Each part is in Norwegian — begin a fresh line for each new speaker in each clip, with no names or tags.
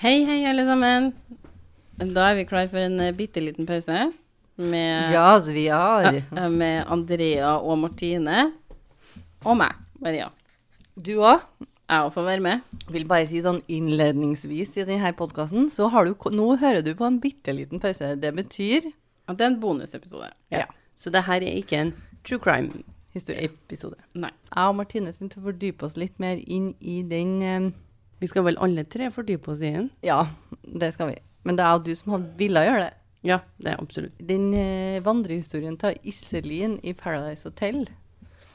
Hei, hei, alle sammen. Da er vi klar for en eh, bitte liten pause med,
Eh, Ja, så vi er.
eh, med Andrea og Martine. Og meg, Maria.
Du òg?
Jeg òg får være med.
Vil bare si sånn innledningsvis i denne podkasten, så har du ko- Nå hører du på en bitte liten pause. Det betyr
At det er en bonusepisode.
Ja.
Så det her er ikke en true crime-episode.
Nei.
Jeg og Martine tenkte å fordype oss litt mer inn i den eh,
Vi skal vel alle tre fordype oss i den?
Ja, det skal vi. Men det er jo du som hadde villet gjøre det.
Ja, det er absolutt.
Den eh, vandrehistorien til Iselin i Paradise Hotel.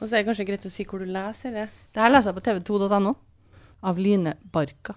Og så er det kanskje greit å si hvor du leser det.
Det her leser jeg på tv2.no av Line Barka.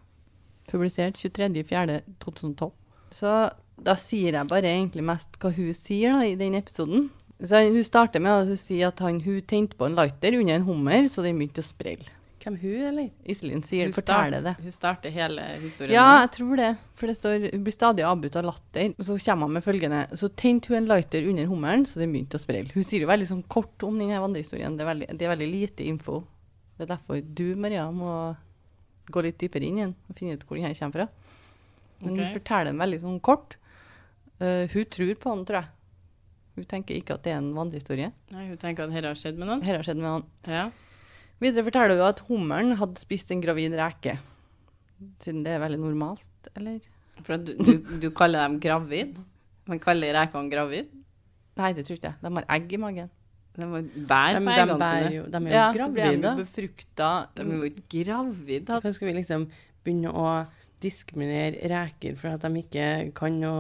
Publisert 23.4.2012. Så da sier jeg bare egentlig mest hva hun sier da, i den episoden. Så hun starter med at hun sier at han, hun tente på en lighter under en hummer, så den begynte å sprelle.
Hvem hun, eller?
Iselin sier,
start-
forteller det.
hun starter hele historien.
Ja, jeg tror det. For det står Hun blir stadig avbrutt av latter. Og så kommer han med følgende Så tente hun en lighter under hummeren, så den begynte å sprelle. Hun sier jo veldig sånn kort om denne vandrehistorien. Det er veldig, det er veldig lite info. Det er derfor du, Maria, må gå litt dypere inn igjen og finne ut hvor den her kommer fra. Men
Ok.
hun forteller den veldig sånn kort. Eh, hun tror på den, tror jeg. Hun tenker ikke at det er en vandrehistorie.
Nei, hun tenker at dette har skjedd med noen.
Her har skjedd med han.
Ja.
Videre forteller hun at hummeren hadde spist en gravid reke. Siden det er veldig normalt, eller?
For at du, du, du kaller dem gravid. Man kaller rekene gravid.
Nei, det tror ikke jeg. De har egg i magen.
De må bære på
De, de,
eggene
bærer
sine.
jo, de er jo
Ja, så blir de
gravide.
jo befrukta.
De er jo ikke gravid. da.
Hvorfor skal vi liksom begynne å diskriminere reker for at de ikke kan å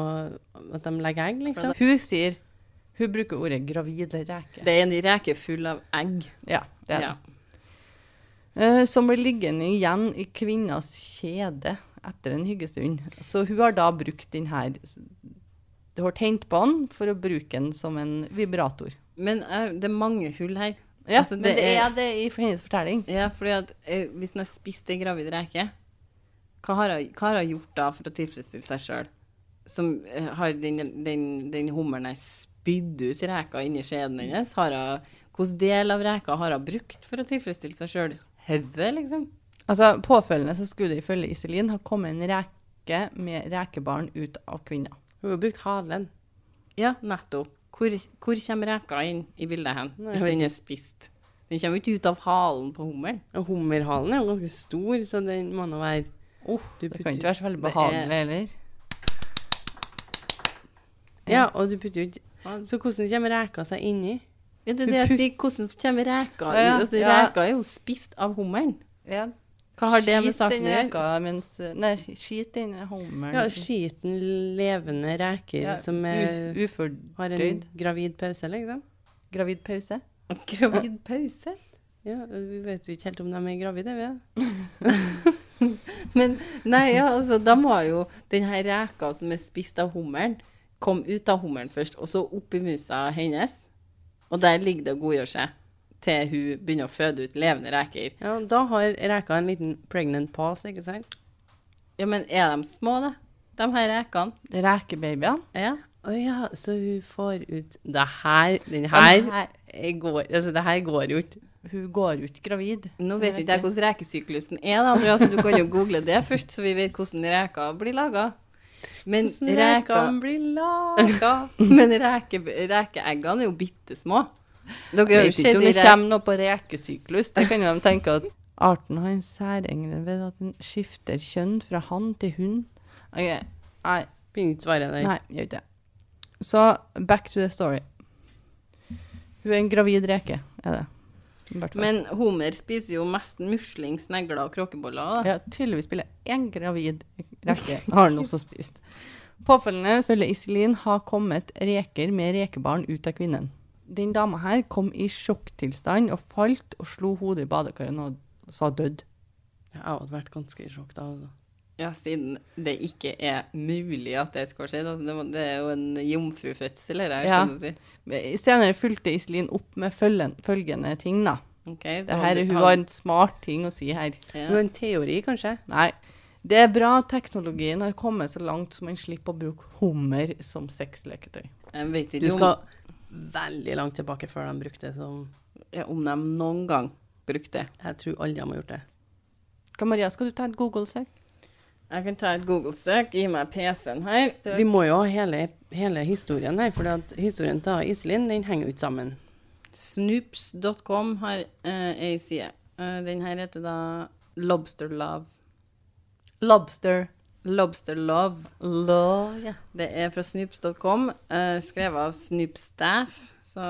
At de legger egg, liksom?
Hun sier Hun bruker ordet gravide reke.
Det er en reke full av egg.
Ja, det er det.
Ja.
Eh, som blir liggende igjen i kvinnas kjede etter en hyggestund. Så hun har da brukt den her Hun har tent på den for å bruke den som en vibrator.
Men eh, det er mange hull her.
Ja,
Altså,
men det er det i hennes fortelling.
Ja, fordi at eh, hvis han har spist en gravid reke, hva har hun- hva har hun gjort da for å tilfredsstille seg sjøl? Som eh, har den, den, den hummeren her spydd ut reka inni skjeden hennes? Har hun, hvilken del av reka har hun brukt for å tilfredsstille seg sjøl? Hodet, liksom?
Altså, Påfølgende så skulle det ifølge Iselin ha kommet en reke med rekebarn ut av kvinna.
Hun har brukt halen.
Ja, nettopp. Hvor, hvor kommer reka inn i bildet hen,
Nei, jeg
hvis
vet
den er spist? Den kommer jo ikke ut av halen på hummeren.
Og hummerhalen er jo ganske stor, så den må nå være Du
Oh, Det kan
putter-
ikke være så veldig
Det er-
behagelig heller.
Ja, og du putter jo ikke Så hvordan kommer reka seg inni?
Ja, det er det jeg sier. Hvordan kommer reka ut?
Ja, ja,
Altså,
ja.
reka er jo spist av hummeren.
Ja.
Hva har det med saken å
Skit den
gjøre?
reka mens Nei, skit den hummeren.
Ja, skiten levende reker
Ja,
som
u-
er, har en
ufordøyd.
gravid pause, liksom.
Gravid pause.
Gravid pause?
Ja, Vi vet jo ikke helt om de er gravide, vi. da.
Men nei, ja, altså, da må jo den her reka som er spist av hummeren, komme ut av hummeren først, og så opp i musa hennes. Og der ligger det og godgjør seg til hun begynner å føde ut levende reker.
Ja, Da har reka en liten pregnant pause, ikke sant?
Ja, men er de små, da? De her rekene?
Rekebabyene.
Ja.
Å ja, så hun får ut Det her Den
Den
her går, altså, det her går jo ikke.
Hun går ut gravid.
Nå vet ikke jeg hvordan rekesyklusen er, da, Andrea, så du kan jo google det først, så vi vet hvordan reker blir laga. Men reker
Rekene blir laga.
Men reke, rekeeggene er jo bitte små. Dere har jo
Vet ikke
sett
om
de
det
der
kommer noe på rekesyklus. Der kan jo de tenke at arten har en særegne ved at den skifter kjønn fra hann til hun. Ok, Nei,
Begynner ikke å svare der.
nei, gjør ikke det. Så back to the story. Hun er en gravid reke, er det. I hvert fall.
Men hummer spiser jo mest musling, snegler og kråkeboller. da.
Ja, tydeligvis spiller én gravid reke, har han også spist. Påfølgende skulle Iselin ha kommet reker med rekebarn ut av kvinnen. Den dama her kom i sjokktilstand og falt og slo hodet i badekaret og sa dødd.
Jeg hadde vært ganske i sjokk da. Altså.
Ja, siden det ikke er mulig at det skal skje. Altså, det, må, det er jo en jomfrufødsel, dette her,
Ja.
skal du si.
Senere fulgte Iselin opp med følgen, følgende ting, da.
Ok, så
Det
han-
her, hun
han-
har en smart ting å si her.
Hun
ja.
har en teori, kanskje?
Nei. Det er bra at teknologien har kommet så langt som man slipper å bruke hummer som sexleketøy.
Jeg vet
Du
ikke om,
skal veldig langt tilbake før de brukte det som
ja, om de noen gang brukte det.
Jeg tror alle de har gjort det.
Hva, Maria, skal du ta et Google-søk?
Jeg kan ta et Google-søk. Gi meg PC-en her.
Vi må jo ha hele, hele historien her, for at historien til Iselin den henger jo ikke sammen.
Snoops.com har eh, ei side. Eh, den her heter da Lobster Love.
Lobster.
Lobster Love.
Love, ja.
Det er fra snoops.com, eh, skrevet av Snoops Staff, så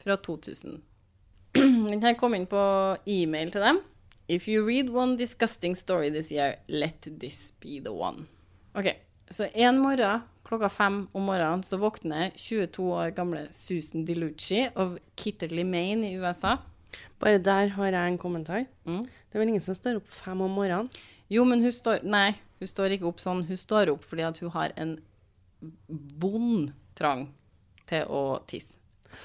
fra 2000. Den her kom inn på e-mail til dem. If you read one disgusting story this year, let this be the one. Ok, så en morgen klokka fem om morgenen så våkner 22 år gamle Susan DiLucci av Kitterly, Maine i USA.
Bare der har jeg en kommentar. Det er vel ingen som står opp fem om morgenen?
Jo, men hun står Nei, hun står ikke opp sånn. Hun står opp fordi at hun har en vond trang til å tisse.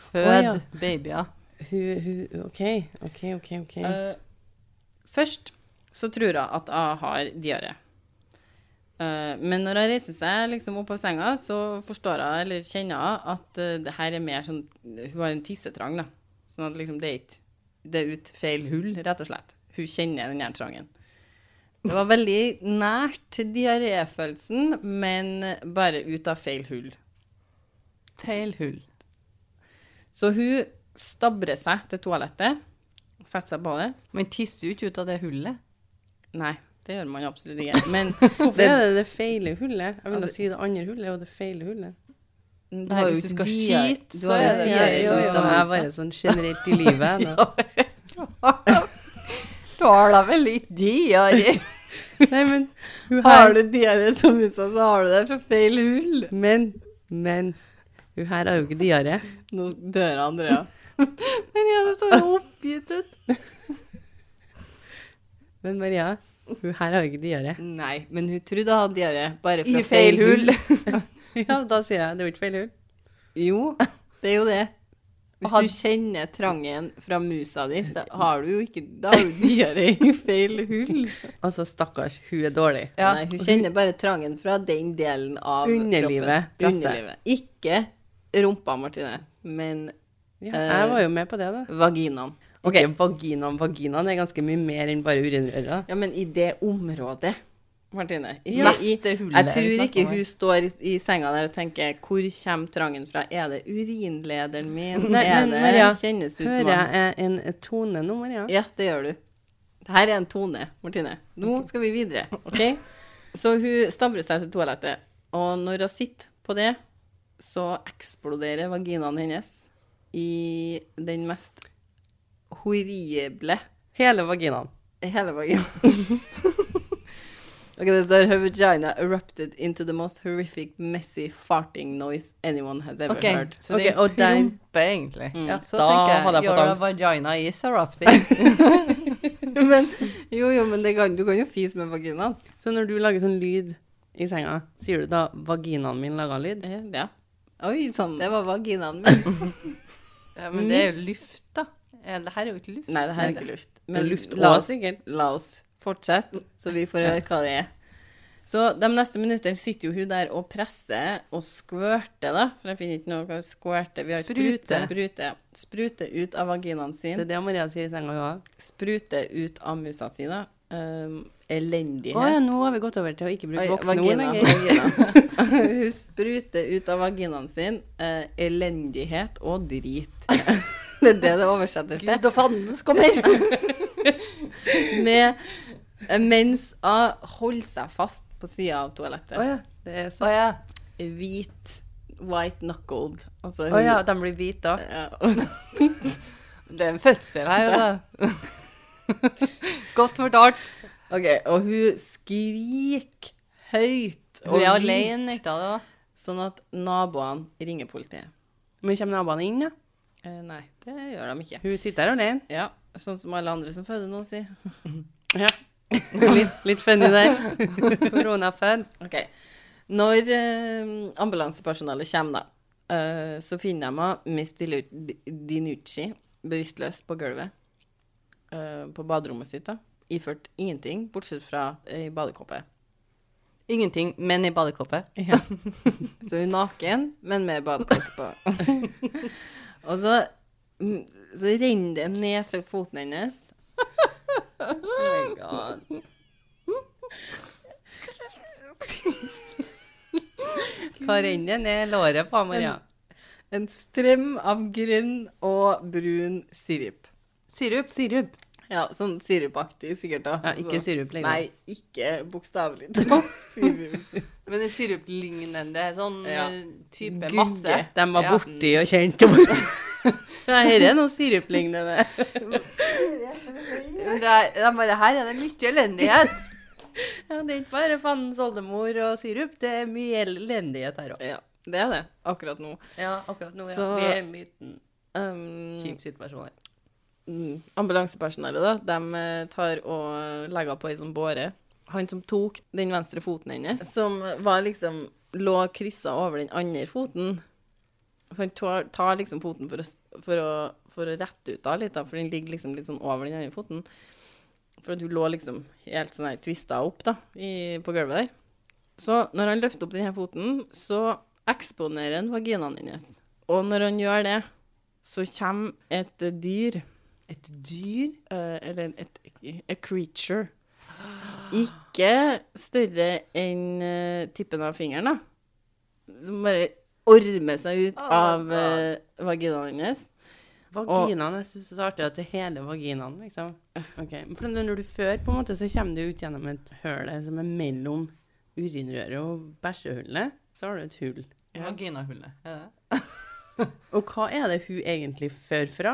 Fød
Å, ja.
babyer.
Hun, hun, OK, OK, OK. ok.
Eh, først så tror hun at jeg har diaré. Eh, men når hun reiser seg liksom opp av senga, så forstår hun eller kjenner hun at eh, det her er mer sånn Hun har en tissetrang, da. Sånn at liksom det er ikke Det er ut feil hull, rett og slett. Hun kjenner den her trangen. Det var veldig nært diaréfølelsen, men bare ut av feil hull.
Feil hull.
Så hun stabrer seg til toalettet, setter seg på det.
Men tisser jo ikke ut av det hullet.
Nei, det gjør man absolutt ikke. Men
Hvorfor
det,
er det det feile hullet? Jeg vil
Altså-
da si det andre hullet er jo det feile hullet.
du
Nei,
har jo
hvis du
ikke
skal
diar-
skite,
du
så
har jo
er det-
diaré
ja, ja,
ut av
ja.
Jeg er bare sånn generelt i livet. Da.
Du har da vel litt diaré?
Nei, men hun
Har
her,
du diaré som USA, så har du det fra feil hull.
men, men hun her har jo ikke diaré.
Nå dør Andrea.
Men jeg er så oppgitt ut.
Men Maria, hun her har jo ikke diaré.
Nei, men hun trodde hun hadde diaré, bare fra
I feil hull.
Ja, da sier jeg det er jo ikke feil hull.
Jo, det er jo det. Hvis
Had-
du kjenner trangen fra musa di, så har du jo ikke Da har du diaré i feil hull.
Altså, stakkars, hun er dårlig.
Ja.
Nei, hun kjenner bare trangen fra den delen av
Underlivet,
kroppen.
Lasse.
Underlivet. Ikke rumpa, Martine, men
Ja, jeg var jo med på det, da.
vaginaen.
Ok, Eh, vaginaen, vaginaen er ganske mye mer enn bare urinrøra.
Ja, men i det området, Martine. Ikke
Ja.
i,
Neste hullet
jeg
vi
tror
snakker
ikke
om
hun står i, i senga der og tenker Hvor kommer trangen fra? Er det urinlederen min?
Nei,
er
men
det
Maria,
kjennes ut som
Hører
han?
jeg eh, en tone nå, Maria?
Ja, det gjør du. Her er en tone, Martine. Nå skal vi videre, OK? Så hun stabler seg til toalettet, og når hun sitter på det, så eksploderer vaginaen hennes i den mest horrible
Hele vaginaen.
Hele vaginaen. ok, det står Her vagina erupted into the most horrific, messy farting noise anyone has ever
Ok,
heard.
så
Ok,
det
og der-
er prompe, egentlig. Ja,
Mm.
så
da
tenker jeg,
hadde jeg fått
your
angst.
vagina is erupting.
men, jo, jo, men det kan, du kan jo fise med vaginaen.
Så når du lager sånn lyd i senga, sier du da 'vaginaen min laga lyd'?
Eh, Ja. Oi sånn. sann, det var vaginaen min.
Ja, men det er jo luft, da. Eh, Det her er jo ikke luft.
Nei, det her er ikke luft. Men
luft
la
òg,
oss,
sikkert.
la oss fortsette, så vi får høre hva det er. Så de neste minuttene sitter jo hun der og presser og skvørter, da. For jeg finner ikke noe å skvørte. Vi har
Sprute.
Sprute. Sprute ut av vaginaen sin.
Det er det Maria sier i senga, hun òg.
sprute ut av musa si, da. Um,
Å ja,
elendighet.
nå har vi gått over til å ikke bruke
Oi,
voks nå
vagina,
lenger.
vagina. Hun spruter ut av vaginaen sin eh, elendighet og drit. det er det det oversettes til.
Gud og fandens kommer!
Med, eh, mens hun holder seg fast på sida av toalettet.
Å ja, det er så
Å ja.
Hvit, white knuckled. Altså
Å ja, de blir hvite da.
ja.
Det er en fødsel her, da. Godt fortalt.
OK, og hun skriker høyt og
Hun er
vilt,
alene, ikke da?
sånn at naboene ringer politiet.
Men kommer naboene inn, da?
Eh, nei, det gjør de ikke.
Hun sitter der alene.
Ja, sånn som alle andre som føder nå, sier.
Ja. litt, litt funny der. Koronafødt.
Ok. Når eh, ambulansepersonalet kommer, da, eh, så finner de henne, Miss Dilu- Di- Dinucci bevisstløs på gulvet eh, på baderommet sitt. da. Iført ingenting, bortsett fra ei badekåpe.
Ingenting, men i badekåpet.
Så hun er naken, men med badekåpe på. Og så, mm, så renner det ned fra foten hennes.
Oh my god. Hva renner det ned låret på, Maria?
En strøm av grønn og brun sirup.
Sirup. Sirup.
Ja, sånn sirupaktig sikkert, da.
Ja, ikke
Så-
sirup lenger.
Altså- Nei, ikke bokstavelig talt sirup.
Men en siruplignende sånn
Ja.
eh, type
Gugge.
masse.
De var
Ja.
borti og kjente Nei, dette er noe siruplignende.
Men Det er, det er bare her er det mye elendighet.
Ja, det er ikke bare fandens oldemor og sirup, det er mye elendighet her òg.
Ja, det er det akkurat nå.
Ja, akkurat nå, ja.
Så-
Vi er i en liten
Um,
kjip situasjon her.
mm, ambulansepersonellet, da, de eh, tar og legger på ei sånn båre. Han som tok den venstre foten hennes, som var liksom lå kryssa over den andre foten. Så han tar, tar liksom foten for å, s- for å, for å rette ut da litt, da, for den ligger liksom litt sånn over den andre foten. For at hun lå liksom helt sånn her tvista opp da, i, på gulvet der. Så når han løfter opp denne foten, så eksponerer han vaginaen hennes. Og når han gjør det, så kommer et eh, dyr
Et dyr?
eh, eller et, a creature. Ikke større enn eh, tippen av fingeren, da. Som bare ormer seg ut
Oh,
av eh, vaginaen hennes.
Vaginaen. Jeg syns det er så artig at det er hele vaginaen, liksom. Ok, men For når du fører, på en måte, så kommer du ut gjennom et høl som er mellom urinrøret og bæsjehullet. Så har du et hull.
Ja.
Vaginahullet. er det?
Og hva er det hun egentlig fører fra?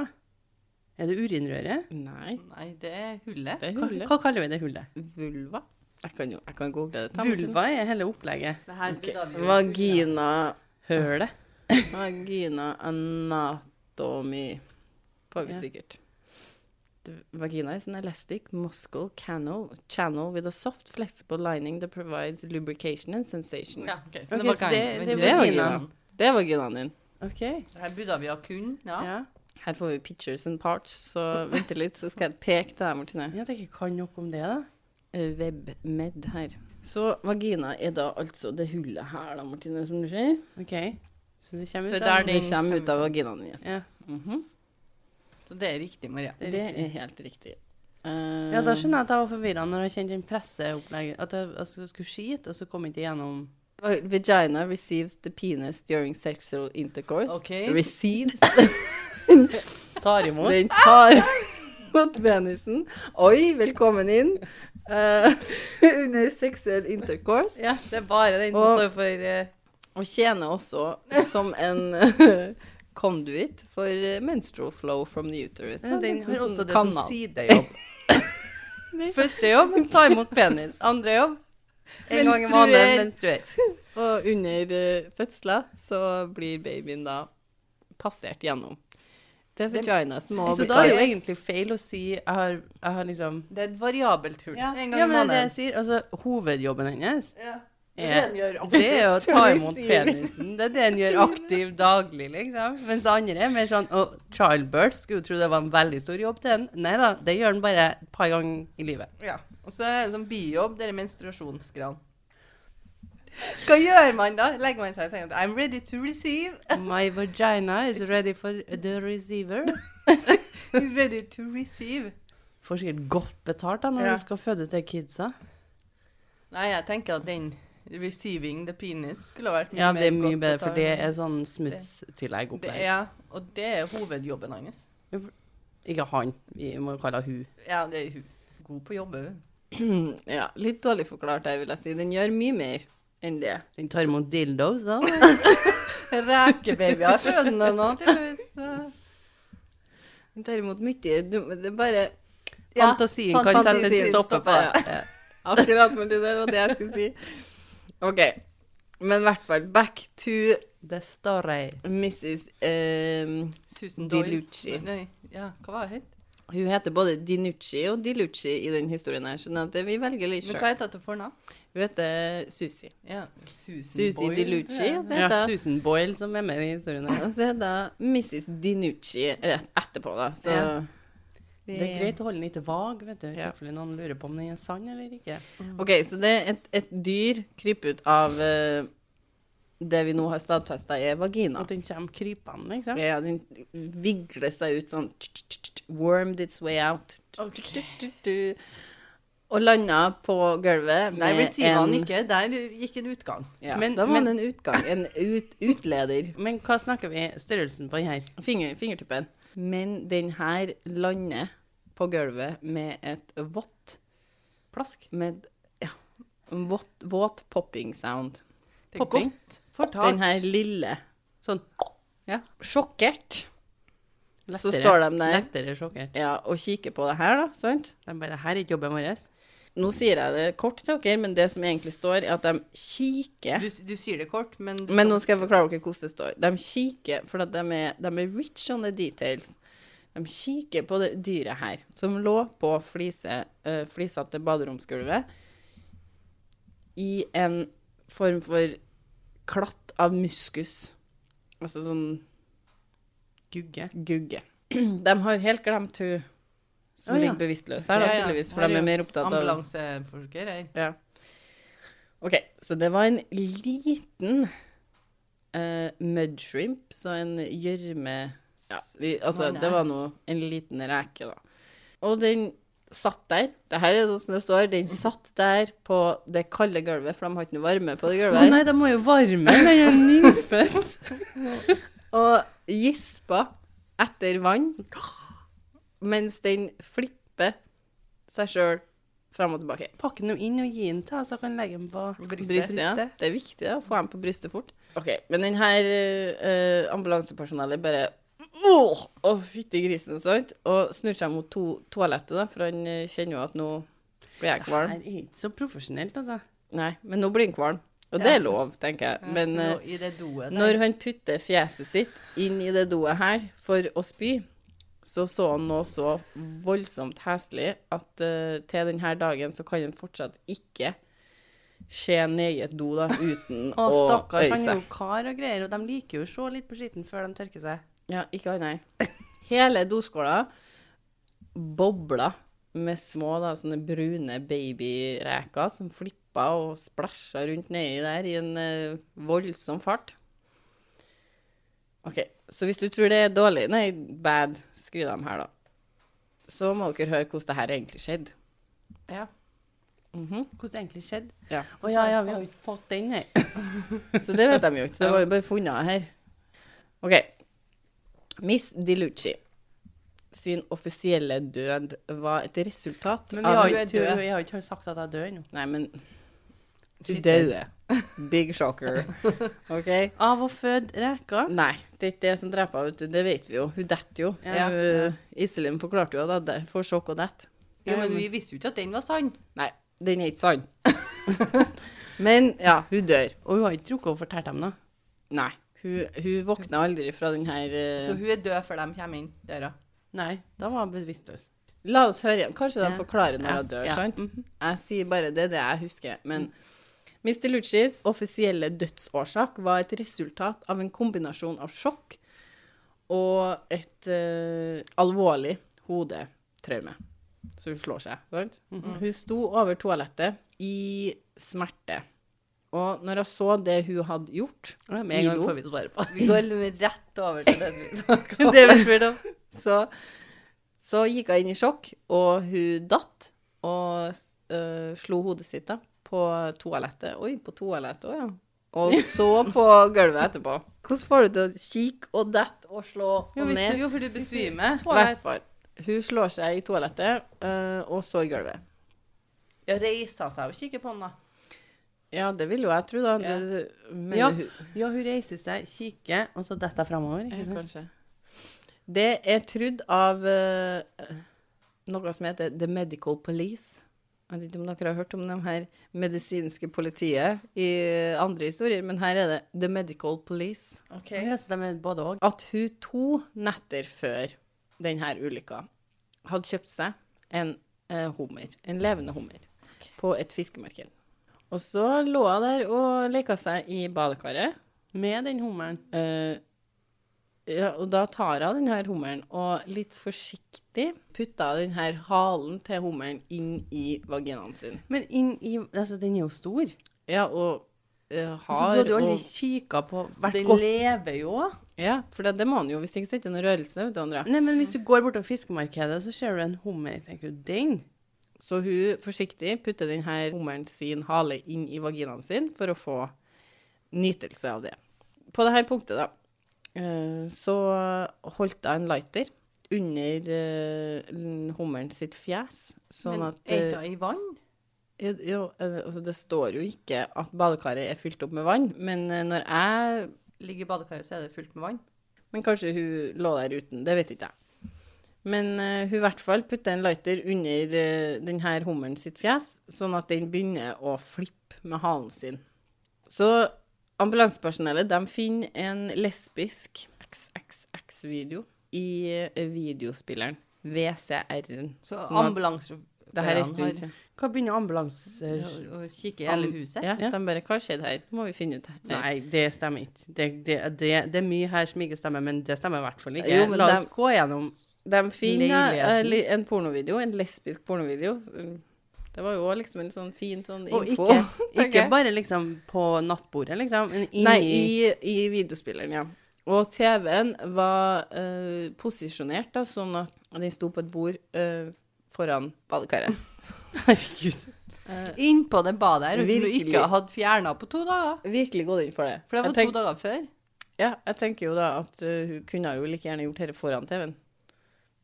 Er det urinrøret?
Nei,
Nei, det er hullet.
det er
Hva,
hullet.
hva kaller vi det hullet?
Vulva. Jeg kan jo jeg kan google det. Ta med
Vulva er hele opplegget.
Det her
til.
blir da vi-
Ok. Vagina
Hølet.
Vagina anatomy. Får vi
Ja.
sikkert. The vagina is an elastic muscle cannel, channel with a soft flexible lining that provides lubrication and sensation.
Ja, ok, så
Ok,
det var
så det-
gang-
Det
det
er
var
vagina.
vaginaen. Det er vaginaen din.
OK.
Det her burde vi ha kun, ja.
Ja.
Her får vi pictures and parts, så vent litt, så skal jeg peke til deg, Martine.
Jeg tenker, kan noe om det, da.
Eh, Webmed her. Så vagina er da altså det hullet her, da, Martine, som du ser.
OK. Så det kommer ut
Det er der
av-
Det
den
kommer ut av
kommer.
vaginaen hennes.
Ja.
Mhm.
Så det er riktig, Maria.
Det er
Det
riktig.
er helt riktig. Eh,
Ja, da skjønner jeg at jeg var forvirra når jeg kjente den presseopplegget. At jeg, altså, jeg skulle skite, og så kom jeg ikke gjennom
Eh, Vagina receives the penis during sexual intercourse.
Ok.
Receives.
Tar imot.
Den tar mot penisen. Oi, velkommen inn. Eh, under seksuell intercourse.
Ja, det er bare den som
Og-
står for eh,
Og tjener også som en eh, conduit for eh, menstrual flow from the uterus.
ja, Den
En liten
har også
sånn
det som
kanal.
sidejobb. Første jobb ta imot penis. Andre jobb en gang i måneden menstruer.
Og under eh, fødsla så blir babyen da passert gjennom. Det er vagina som må
Så da er det jo egentlig feil å si jeg har, jeg har liksom
Det er et variabelt hull.
ja,
En gang i
men det er det
måneden.
jeg sier. Altså, hovedjobben hennes
Det er det den
er, det er jo å ta
Tror du
imot
sier det?
penisen. Det er det en gjør aktiv daglig, liksom. Mens det andre er mer sånn Og childbirth skulle jo tro det var en veldig stor jobb til den. Nei da, det gjør den bare et par ganger i livet.
Ja. Og så er det sånn bijobb, det er menstruasjonsgran. Hva gjør man da? Legger man seg i senga og sier I'm ready to receive.
My vagina is ready for the receiver.
I'm ready to receive.
Får sikkert godt betalt da når
Ja.
du skal føde til kidsa.
Nei, jeg tenker at den receiving the penis skulle ha vært mye
Ja, det er
mer
mye
godt
bedre, for det
betalt.
er sånn smutstillegg-opplegg.
det er, Ja, og det er hovedjobben hans.
Ikke han, vi må kalle henne hun.
Ja, det er hun. God på jobb, hun.
Ja, litt dårlig forklart her, vil jeg si. Den gjør mye mer enn det.
Den tar imot dildos, da.
Rekebabyer føder nå, nå tydeligvis.
Den tar imot mye du, Det er bare
Ja,
Fantasien kan
fantasien
sette en stopper på
stopper,
det.
akkurat med det der, var det jeg skulle si. OK. Men i hvert fall back to
Det står ei.
Mrs. ehm,
Susan
Dilucci.
Nei, ja, hva var det hun het?
hun heter både Dinucci og Dilucci i den historien her, sånn at vi velger litt
Men
sjøl.
hva heter hun til fornavn?
Hun heter Susi.
Ja. Susan
Susi
Boyle,
Dilucci,
tror jeg.
altså.
Ja,
heter-
Susan Boyle som er med i historien her.
Og så er det Mrs. Dinucci rett etterpå, da. Så
Ja.
vi-
Det er greit å holde den litt vag, vet du.
Ja.
Tilfelle noen lurer på om den er sann eller ikke.
OK, så det er et, et dyr kryper ut av eh, det vi nå har stadfesta er vagina.
At den kommer krypende, liksom.
Ja, den vigler seg ut sånn Wormed its way out. Og landa på gulvet
Nei,
med en
receiveren ikke. Der gikk en utgang.
Ja,
Men-
da var
men-
det en utgang. En ut, utleder.
Men hva snakker vi størrelsen på den her?
Finger, fingertuppen. Men den her lander på gulvet med et vått
Plask.
med ja, en vått, våt popping sound.
Det er
Popping.
godt fortalt.
Den her lille.
Sånn
Ja. Sjokkert. Så
lettere-
står de der
Lettere sjokkert.
ja, og kikker på det her, da. Sant?
De bare Her er ikke jobben vår.
Nå sier jeg det kort til dere, men det som egentlig står, er at de kikker
Du, du sier det kort, men du
Men nå skal jeg forklare dere hvordan det står. De kikker, for at de, er, de er rich on the details. De kikker på det dyret her, som lå på flise, eh, flisa til baderomsgulvet i en form for klatt av muskus. Altså sånn
Gugge.
gugge. De har helt glemt hun som
Å, ja.
ligger bevisstløs her, da,
Ja, ja.
tydeligvis, for
Her
de
er
er
jo
mer opptatt av
Ambulanseforsker her.
ja. OK, så det var en liten uh, mudshrimp, så en gjørme ja, vi, Altså,
Hva er det?
det var nå en liten reke, da. Og den satt der. Det her er sånn som det står. Den satt der på det kalde gulvet, for de har ikke noe varme på det gulvet.
nei, de må jo varme. Den er jo nyfødt.
og gispa etter vann mens den flipper seg sjøl fram og tilbake.
Pakk den jo inn og gi den til, så jeg kan legge den på brystet.
Brystet, ja.
Brystet.
Det er viktig ja, å få dem på brystet fort. Ok, Men den her eh, ambulansepersonellet bare Åh, Å, fytti grisen, sant? Og snur seg mot to toalettet, da, for han eh, kjenner jo at nå blir jeg
Her
kvalm.
er ikke så profesjonelt, altså.
Nei, men nå blir han kvalm. Og
Ja.
det er lov, tenker jeg. Men eh,
Nå I det doet der.
når han putter fjeset sitt inn i det doet her for å spy, så så han noe så voldsomt heslig at eh, til denne dagen så kan han fortsatt ikke se ned i et do da, uten
Å,
å
stakkars.
øye
Han er
seg.
jo kar og greier, og de liker jo å se litt på skitten før de tørker seg.
Ja, ikke han, nei. Hele doskåla bobla med små da, sånne brune babyreker som flippa og splæsja rundt nedi der i en eh, voldsom fart. OK, så hvis du tror det er dårlig, nei, bad, skriver de her, da, så må dere høre hvordan det her egentlig skjedde.
ja.
Mhm.
Hvordan det egentlig skjedde.
Ja.
Å ja, ja, vi har jo ikke fått den, nei.
Så det vet de jo ikke. Så det var jo bare funnet her. OK. Miss DiLucci sin offisielle død var et resultat
Men vi
av
har
du
jo
er
ikke,
død.
vi har jo ikke sagt at jeg dør ennå.
Nei, men du
Shit.
døde. Big shocker. OK?
Av å føde reker.
Nei, det er ikke det som dreper henne, vet du. det vet vi jo. Hun detter jo.
Ja.
Hun- Iselin forklarte jo at hun hadde- får sjokk og detter.
Jo, men vi visste jo ikke at den var sann.
Nei, den er ikke sann. men ja, hun dør.
Og hun har ikke drukket og fortalt dem noe.
Nei. Hun, hun våkna aldri fra den her eh,
Så hun er død før de kommer inn døra.
Nei, da var hun bevisstløs.
La oss høre igjen. Kanskje de
Ja.
forklarer når
Ja,
hun dør,
ja. Mhm. Mm.
sant? Jeg sier bare det, er det jeg husker. Men Mr. Luccis offisielle dødsårsak var et resultat av en kombinasjon av sjokk og et eh, alvorlig hodetraume. Så hun slår seg, sant?
Mhm.
Hun sto over toalettet i smerte. Og når hun så det hun hadde gjort,
Ja, Med en gang
Ido.
får vi svaret på
Vi går rett over til den vi snakket om.
det. er vel fordi da-
Så, så gikk hun inn i sjokk, og hun datt og øh, slo hodet sitt da, på toalettet. Oi, på toalettet òg, ja. Og så på gulvet etterpå. Hvordan får du til å kikke og dette og slå
Jo,
og
visste
ned?
du jo, for du besvimer.
I hvert fall. Hun slår seg i toalettet, øh, og så i gulvet.
Ja, reiser seg og kikker på den, da.
Ja, det vil jo jeg tro, da.
Ja.
Det- Men
Ja.
hun,
Ja, hun reiser seg, kikker, og så detter hun framover. Ikke sant?
Eh, kanskje. Det er trudd av eh, noe som heter The Medical Police. Jeg vet ikke om dere har hørt om de her medisinske politiet i eh, andre historier, men her er det The Medical Police.
Ok.
Ja, så de er både og.
At hun to netter før denne ulykka hadde kjøpt seg en eh, hummer, en levende hummer, på et fiskemarked. Og så lå hun der og leka seg i badekaret.
Med den hummeren.
Eh, ja, og da tar hun den her hummeren og litt forsiktig putter hun den her halen til hummeren inn i vaginaen sin.
Men inn i Altså, den er jo stor.
Ja, og eh,
så
har
Altså, du hadde jo aldri
og
kikka på hvert
Den
godt
lever jo òg.
Ja, for det, det må han jo hvis det ikke sitter noe rørelse, vet du, Andrea.
Nei, men hvis du går bortom fiskemarkedet, så ser du en hummer. Tenker du, den?
Så hun forsiktig putter denne hummeren sin hale inn i vaginaen sin for å få nytelse av det. På dette punktet, da, eh, så holdt jeg en lighter under eh, hummeren sitt fjes, sånn
Men
at
er
eh,
det i vann?
jo, jo, eh, altså det står jo ikke at badekaret er fylt opp med vann, men eh, når jeg
Ligger i badekaret, så er det fullt med vann.
Men kanskje hun lå der uten, det vet ikke jeg. Men eh, hun i hvert fall putter en lighter under eh, den her hummeren sitt fjes, sånn at den begynner å flippe med halen sin. Så ambulansepersonellet de finner en lesbisk XXX-video i eh, videospilleren. VCR-en.
Så
Sånn at- Det her er en stund
ambulansesjåførene
siden.
Hva begynner ambulanser
har å kikke i hele
Am-
huset.
Ja,
Ja.
de bare Hva skjedde her? Må vi finne ut her.
Nei, det stemmer ikke. Det, det, det, det er mye her som ikke stemmer, men det stemmer i hvert fall ikke.
Jo, men
La
dem-
oss gå gjennom
De finner eh,
Leiligheten.
li- en pornovideo, en lesbisk pornovideo. Det var jo også liksom en sånn fin sånn
Og
info.
ikke,
tenker
ikke
jeg.
bare liksom på nattbordet, liksom. Men inni
Nei, i, i videospilleren, ja. Og TV-en var eh, posisjonert da, sånn at den sto på et bord eh, foran badekaret. Eh,
Herregud.
Inn på det badet her, som du
Virkelig.
ikke hadde fjerna på to dager.
Virkelig gått inn for det.
For det var
jeg, tenk,
to dager før.
ja, jeg tenker jo da at eh, hun kunne jo like gjerne gjort dette foran TV-en.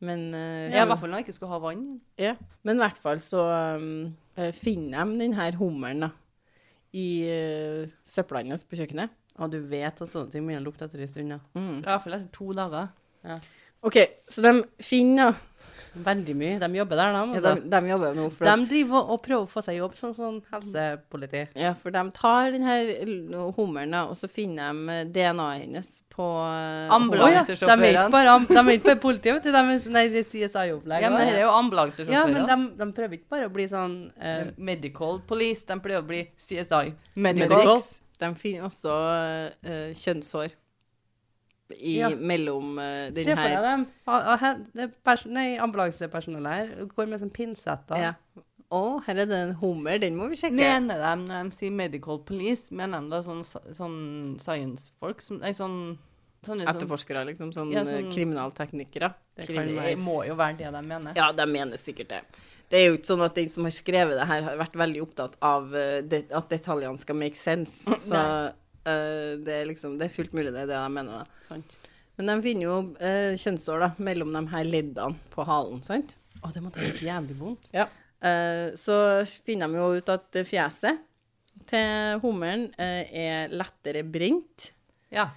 Men eh,
Ja, I hvert fall når jeg ikke skulle ha vann.
Ja, men i hvert fall så um, eh, finner de den her hummeren da, i uh, søpla hennes på kjøkkenet.
Og du vet at sånne ting begynner å lukte etter en stund, ja.
I hvert fall etter to dager.
OK, så de finner
Veldig mye. De jobber der, de.
ja,
Altså.
de, de jobber nå for,
de driver og prøver å få seg jobb som sånn helsepoliti.
ja, for de tar den her l- hummeren, da, og så finner de eh, DNA-et hennes på eh,
Ambulanse.
hummeren.
De er ikke bare, de er ikke bare politi, vet du. De er sånn der CSI-opplegg.
Ja, men dette er jo
Ja, men
ambulansesjåfører.
de, de prøver ikke bare å bli sånn eh,
Medical police. De pleier å bli CSI.
Medical.
De finner også eh, kjønnshår i,
Ja.
mellom eh, den
Se for deg
her
dem. Ah, ah, her- det er pers- nei, Ambulansepersonellet her går med sånn pinsetter.
ja. Å, her er det en hummer, den må vi sjekke.
Mener de når de sier medical police, mener de da sånn, sånn science-folk? som- Nei, sånn sånne som-
Etterforskere, liksom. Sånn,
Ja, sånn-
eh, kriminalteknikere.
Det kan
Krimi-
være.
Det må jo være det de mener.
Ja, de mener sikkert det. Det er jo ikke sånn at den som har skrevet det her, har vært veldig opptatt av eh, det, at detaljene skal make sense. Så eh, det er liksom Det er fullt mulig, det er det de mener, da.
Sant.
Men de finner jo eh, kjønnsår, da, mellom de her leddene på halen, sant?
Å, det måtte ha gjort jævlig vondt.
Eh, så finner de jo ut at fjeset til hummeren eh, er lettere brent
Ja.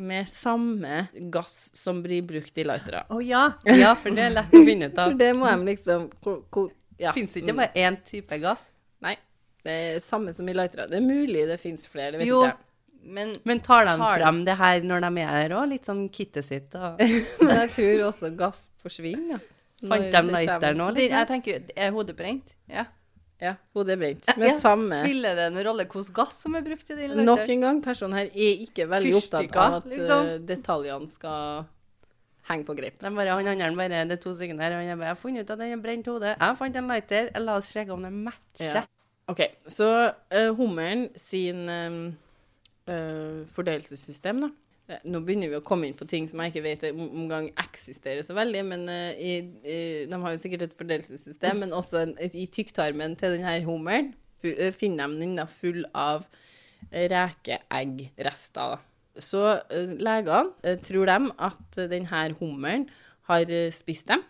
med samme gass som blir brukt i lightere.
Å ja. ja, for det er lett å finne ut
For
av.
det må de liksom ko- ko- ja.
Fins ikke bare én type gass?
Nei. Det er samme som i lightere. Det er mulig det fins flere, det vet
Jo,
ikke jeg.
men
Men tar de
Har det-
frem det her når de er her òg? Litt sånn kittet sitt og
Men jeg tror også gass forsvinner. ja.
Fant
Når
de
det
lighter
kommer-
nå? liksom?
det, jeg tenker, er hodet brent? Ja.
Ja, hodet er brent. Med
Ja.
samme
Spiller det noen rolle hvilken gass som er brukt i det? eller?
Nok en gang, personen her er ikke veldig opptatt av at
Fyrstikker, liksom.
eh, detaljene skal henge på greip.
De bare, Han andre bare Det er to stykker der, og han er bare 'Jeg har funnet ut at den har brent hodet. Jeg fant en lighter. La oss sjekke om den
Ja.
matcher.'
OK, så eh, hummeren sin eh, eh, fordøyelsessystem, da. Eh, Nå begynner vi å komme inn på ting som jeg ikke vet om- omgang eksisterer så veldig. Men eh, i, i, de har jo sikkert et fordelelsessystem, men også en, et, i tykktarmen til denne hummeren fu- eh, finner de den da full av rekeeggrester. da. Så eh, legene eh, tror dem at denne hummeren har eh, spist dem.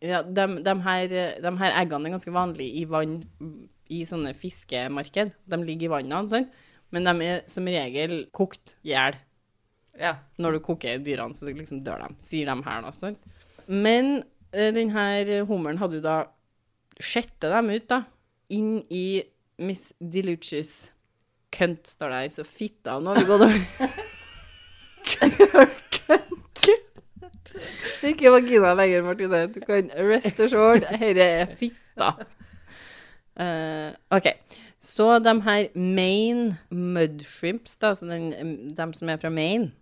Ja, de, de, her, eh, de her eggene er ganske vanlige i vann mm, i sånne fiskemarked. De ligger i vannene, sant? men de er som regel kokt i hjel
Ja.
når du koker dyrene, så liksom dør de, sier de her nå. Sant? Men eh, den her hummeren hadde jo da sjette dem ut, da, inn i Miss Deluches kønt, står det her, så fitta nå har vi gått over. Det er ikke vagina lenger, Martine. Du kan rest assured, dette er fitta. Eh, OK. Så de her Maine mudshrimps, da, altså den, dem som er fra Maine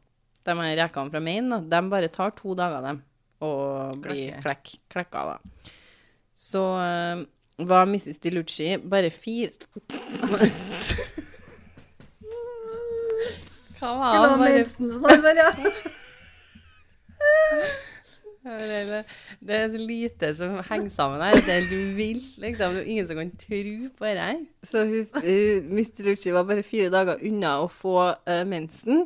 de her rekene fra Maine, da, de bare tar to dager, dem, og blir klekk, klekka, da. Så eh, var Mrs. DiLucci bare fire
Hva var sånn det?
Bare,
Ja, det er det, det er så lite som henger sammen her. Det er helt vilt, liksom. Det er jo ingen som kan tro på det her.
Så hun, hun, Mr. Lucci var bare fire dager unna å få eh, mensen.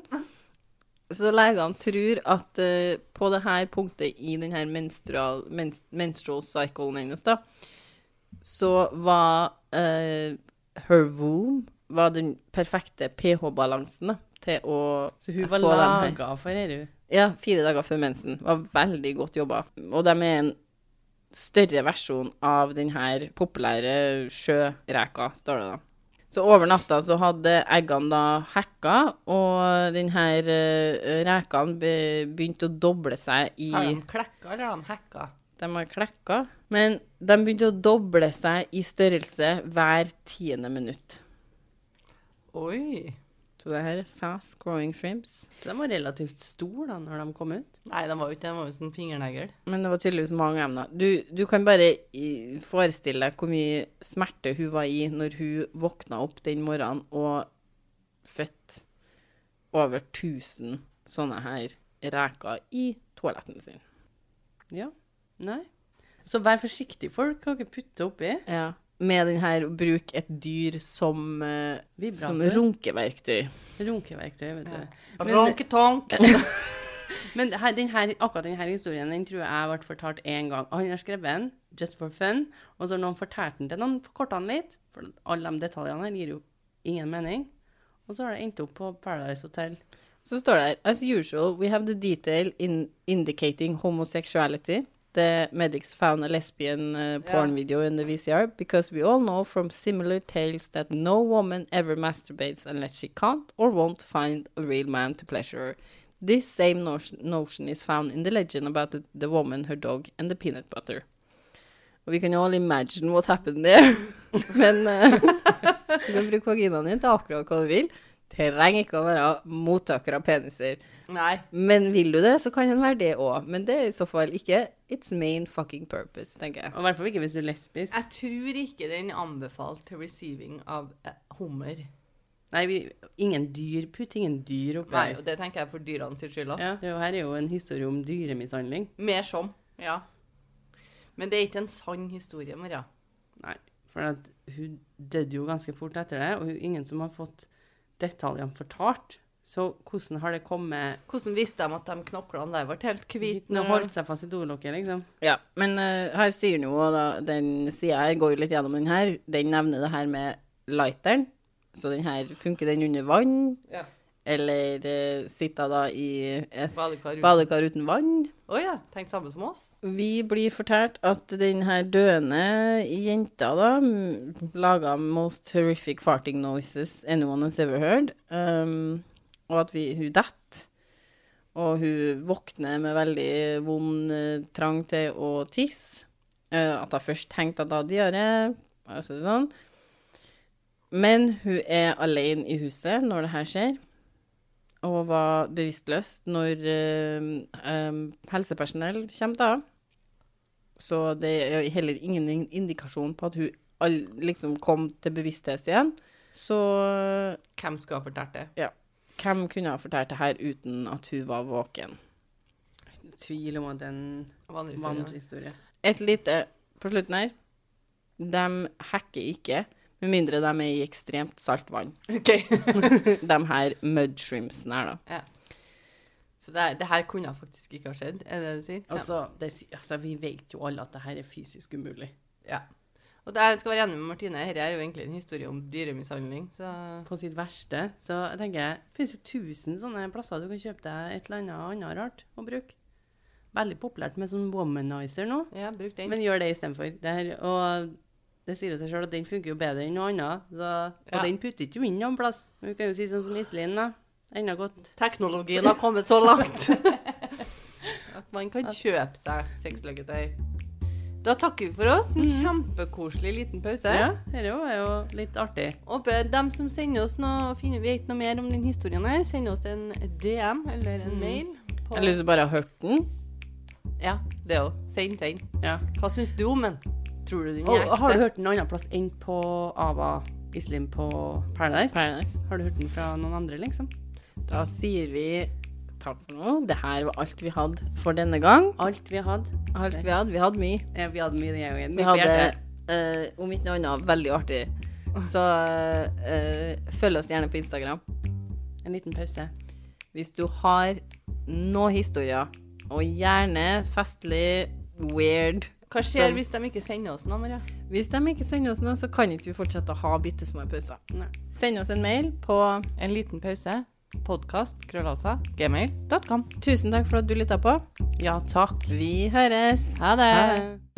Så legene tror at eh, på det her punktet i den her menstrual, mens, menstrual cyclen hennes, da, så var eh, her womb var den perfekte pH-balansen da, til å
Så hun var
få dem her.
laga for det, hun.
Ja, fire dager før mensen. Var veldig godt jobba. Og de er en større versjon av den her populære sjøreka, står det da. Så over natta så hadde eggene da hekka, og den her eh, rekene be- begynte å doble seg i
Har de klekka, eller har de hekka?
De har klekka. Men de begynte å doble seg i størrelse hver tiende minutt.
Oi.
Så det her er fast growing shrimps.
Så de var relativt store da når de kom ut.
Nei, de var jo ikke det. De var jo sånn fingernegl.
Men det var tydeligvis mange emner. Du, du kan bare i- forestille deg hvor mye smerte hun var i når hun våkna opp den morgenen og fødte over 1000 sånne her reker i toaletten sin.
Ja. Nei. Så vær forsiktig, folk. Hva dere putter oppi?
Ja. Med den her å bruke et dyr som, eh, som
Vibrator.
runkeverktøy.
Runkeverktøy, vet du.
Ja.
Men- Eh,
Ronketonk!
Men det her, den her, akkurat denne historien den tror jeg ble fortalt én gang. Og han har skrevet den just for fun, og så har noen fortalt den til noen, forkortet den litt. For alle de detaljene her gir jo ingen mening. Og så har det endt opp på Paradise Hotel.
Så står det her As usual, we have the detail in indicating homosexuality. The medics found a lesbian uh, porn
Ja.
video in the VCR because we all know from similar tales that no woman ever masturbates unless she can't or won't find a real man to pleasure her. This same notion, notion is found in the legend about the, the woman, her dog, and the peanut butter. Og vi kan jo all imagine what happened there. Men eh, du kan bruke vaginaen din til akkurat hva du vil. Trenger ikke å være mottaker av peniser.
Nei.
Men vil du det, så kan den være det òg. Men det er i så fall ikke its main fucking purpose, tenker jeg.
Og i hvert fall ikke hvis du er lesbisk.
Jeg tror ikke den anbefalt til receiving av eh, hummer.
Nei, vi, ingen dyr. Putt ingen dyr oppi
Nei,
her.
og det tenker jeg for dyrene sin skyld òg.
Ja, det er jo- her er jo en historie om dyremishandling.
Mer som. Ja. Men det er ikke en sann historie, Maria.
Nei, for at hun døde jo ganske fort etter det, og hun, ingen som har fått detaljene fortalt. Så hvordan har det kommet
Hvordan visste de at de knoklene der ble helt
hit
hvite?
når hun holdt seg fast i dolokket, liksom?
Ja, Men eh, her sier den jo, og da, den sida her går jo litt gjennom den her. Den nevner det her med lighteren. Så den her funker den under vann,
Ja.
eller eh, sitter da i et
Badekar uten-
badekar uten vann.
Å ja. Tenk samme som oss.
Vi blir fortalt at den her døende jenta da m- laga most horrific farting noises anyone has ever heard. Um, og at vi, hun detter. Og hun våkner med veldig vond eh, trang til å tisse. Eh, at hun først tenkte at hun hadde diaré. Altså sånn. Men hun er alene i huset når det her skjer og var bevisstløs når eh, em, helsepersonell kommer da. Så det er heller ingen in- indikasjon på at hun all, liksom kom til bevissthet igjen. Så øh,
Hvem skulle ha fortalt det?
hvem kunne ha fortalt det her uten at hun var våken?
Tvil om at den vant
Vandrehistorien.
historie.
Et lite på slutten her. De hacker ikke, med mindre de er i ekstremt salt vann. De her mudshrimpsene her, da.
Så det, det her kunne faktisk ikke ha skjedd, er det det du sier?
Altså, det, si- altså, vi vet jo alle at det her er fysisk umulig.
Ja. Og det, jeg skal være enig med Martine, dette er jo egentlig en historie om dyremishandling. Så
På sitt verste, så jeg tenker jeg, det finnes jo tusen sånne plasser du kan kjøpe deg et eller annet annet rart å bruke. Veldig populært med sånn womanizer nå,
ja, bruk den.
men gjør det istedenfor. Det her, og det sier jo seg sjøl at den funker jo bedre enn noe annet, så, og
Ja.
den putter ikke du inn noen plass. Men vi kan jo si sånn som Iselin, da. Enda godt.
Teknologien har kommet så langt at man kan kjøpe seg sexleketøy. Da takker vi for oss. En kjempekoselig liten pause.
Mhm. Ja, dette var jo lilitt artig.
Og be dem som sender oss noe, finner, vet noe mer om den historien her, send oss en DM eller
Mhm.
en mail. På,
Jeg har lyst til å bare ha hørt den.
ja, det òg. Send, send.
Ja.
Hva syns du om den? Tror du den
Og,
er
og har du
ekte?
hørt den annen plass enn på Ava Islim på Paradise?
Paradise.
Har du hørt den fra noen andre, liksom?
Da sier vi takk for nå. Det her var alt vi hadde for denne gang.
Alt vi hadde.
Alt vi hadde. Vi hadde mye.
eh, Vi hadde mye den gangen.
Vi hadde, eh, om ikke noe annet, veldig artig. Så eh, følg oss gjerne på Instagram.
En liten pause.
Hvis du har noen historier, og gjerne festlig, weird
Hva
Sånn.
skjer hvis de ikke sender oss noe, Maria?
Hvis de ikke sender oss noe, så kan ikke vi fortsette å ha bitte små pauser.
Nei.
Send oss en mail på
En liten pause. Podkast. Krøllalfa. Gmail.com.
Tusen takk for at du lytta på.
Ja, takk.
Vi høres.
Ha det.
Ha det.